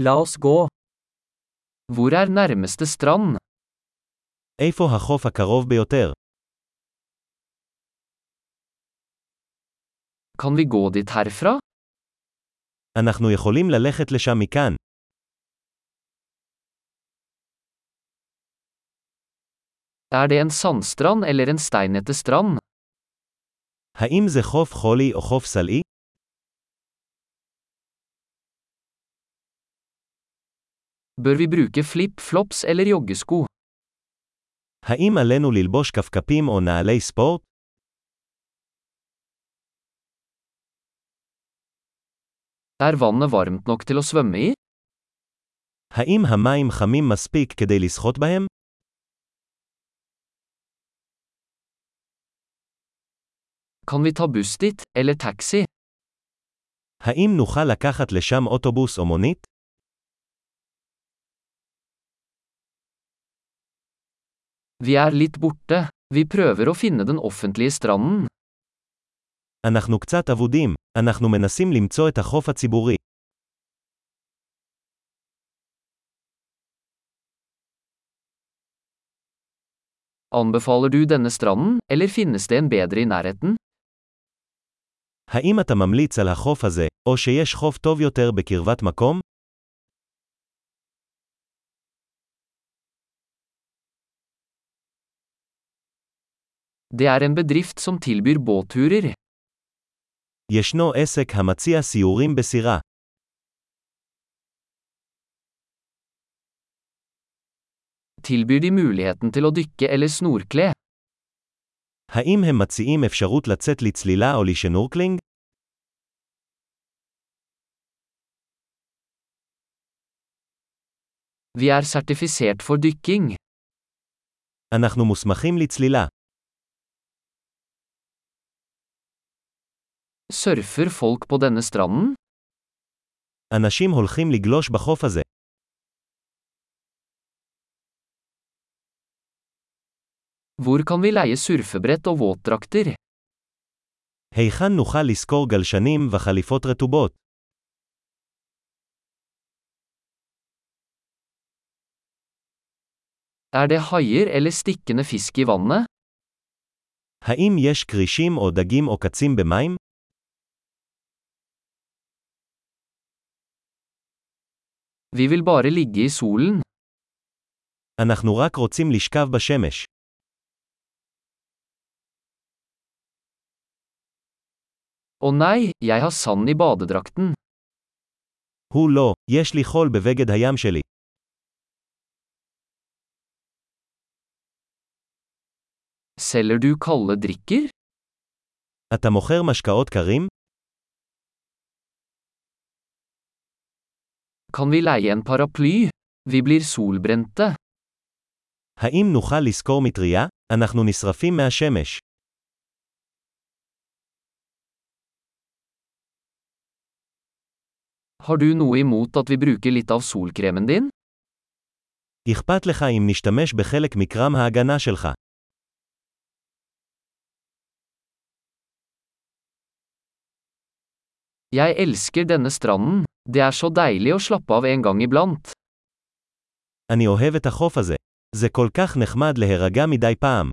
La oss gå. Hvor er nærmeste strand? איפה החוף הקרוב ביותר? Kan vi gå dit herfra? אנחנו יכולים ללכת לשם מכאן. Er det en sandstrand eller en steinete strand? האם זה חוף חולי או חוף סלעי? Bør vi bruke flip-flops eller joggesko? האם עלינו ללבוש כפכפים או נעלי ספורט? Er vannet varmt nok til å svømme i? האם המים חמים מספיק כדי לשחות בהם? Kan vi ta buss dit, eller taxi? האם נוכל לקחת לשם אוטובוס או מונית? Vi er litt borte. Vi prøver å finne den offentlige stranden. אנחנו קצת אבודים, אנחנו מנסים למצוא את החוף הציבורי. Anbefaler du denne stranden, eller finnes det en bedre i nærheten? האם אתה ממליץ על החוף הזה, או שיש חוף טוב יותר בקרבת מקום? Det er en bedrift som tilbyr båtturer. ישנו עסק המציע סיורים בסירה. Tilbyr de muligheten til å dykke eller snorkle? האם הם מציעים אפשרות לצאת לצלילה או לשנורקלינג? Vi er sertifisert for dykking. אנחנו מוסמכים לצלילה. Surfer folk på denne stranden? אנשים הולכים לגלוש בחוף הזה. Hvor kan vi leie surfebrett og våtdrakter? היכן נוכל לשכור גלשנים וחליפות רטובות? Er det haier eller stikkende fisk i vannet? האם יש כרישים או דגים או קצים במים? Vi vil bare ligge i solen. אנחנו רק רוצים לשכב בשמש. Å nei, jeg har sand i badedrakten. הוא לא, יש לי חול בבגד הים שלי. Selger du kalde drikker? אתה מוכר משקאות קרים? Kan vi leie en paraply? Vi blir solbrente. האם נוכל לשכור מטריה? אנחנו נשרפים מהשמש. Har du noe imot at vi bruker litt av solkremen din? אכפת לך אם נשתמש בחלק מקרם ההגנה שלך. Jeg elsker denne stranden. Det er så deilig å slappe av en gang iblant. אני אוהב את החוף הזה. זה כל כך נחמד להירגע מדי פעם.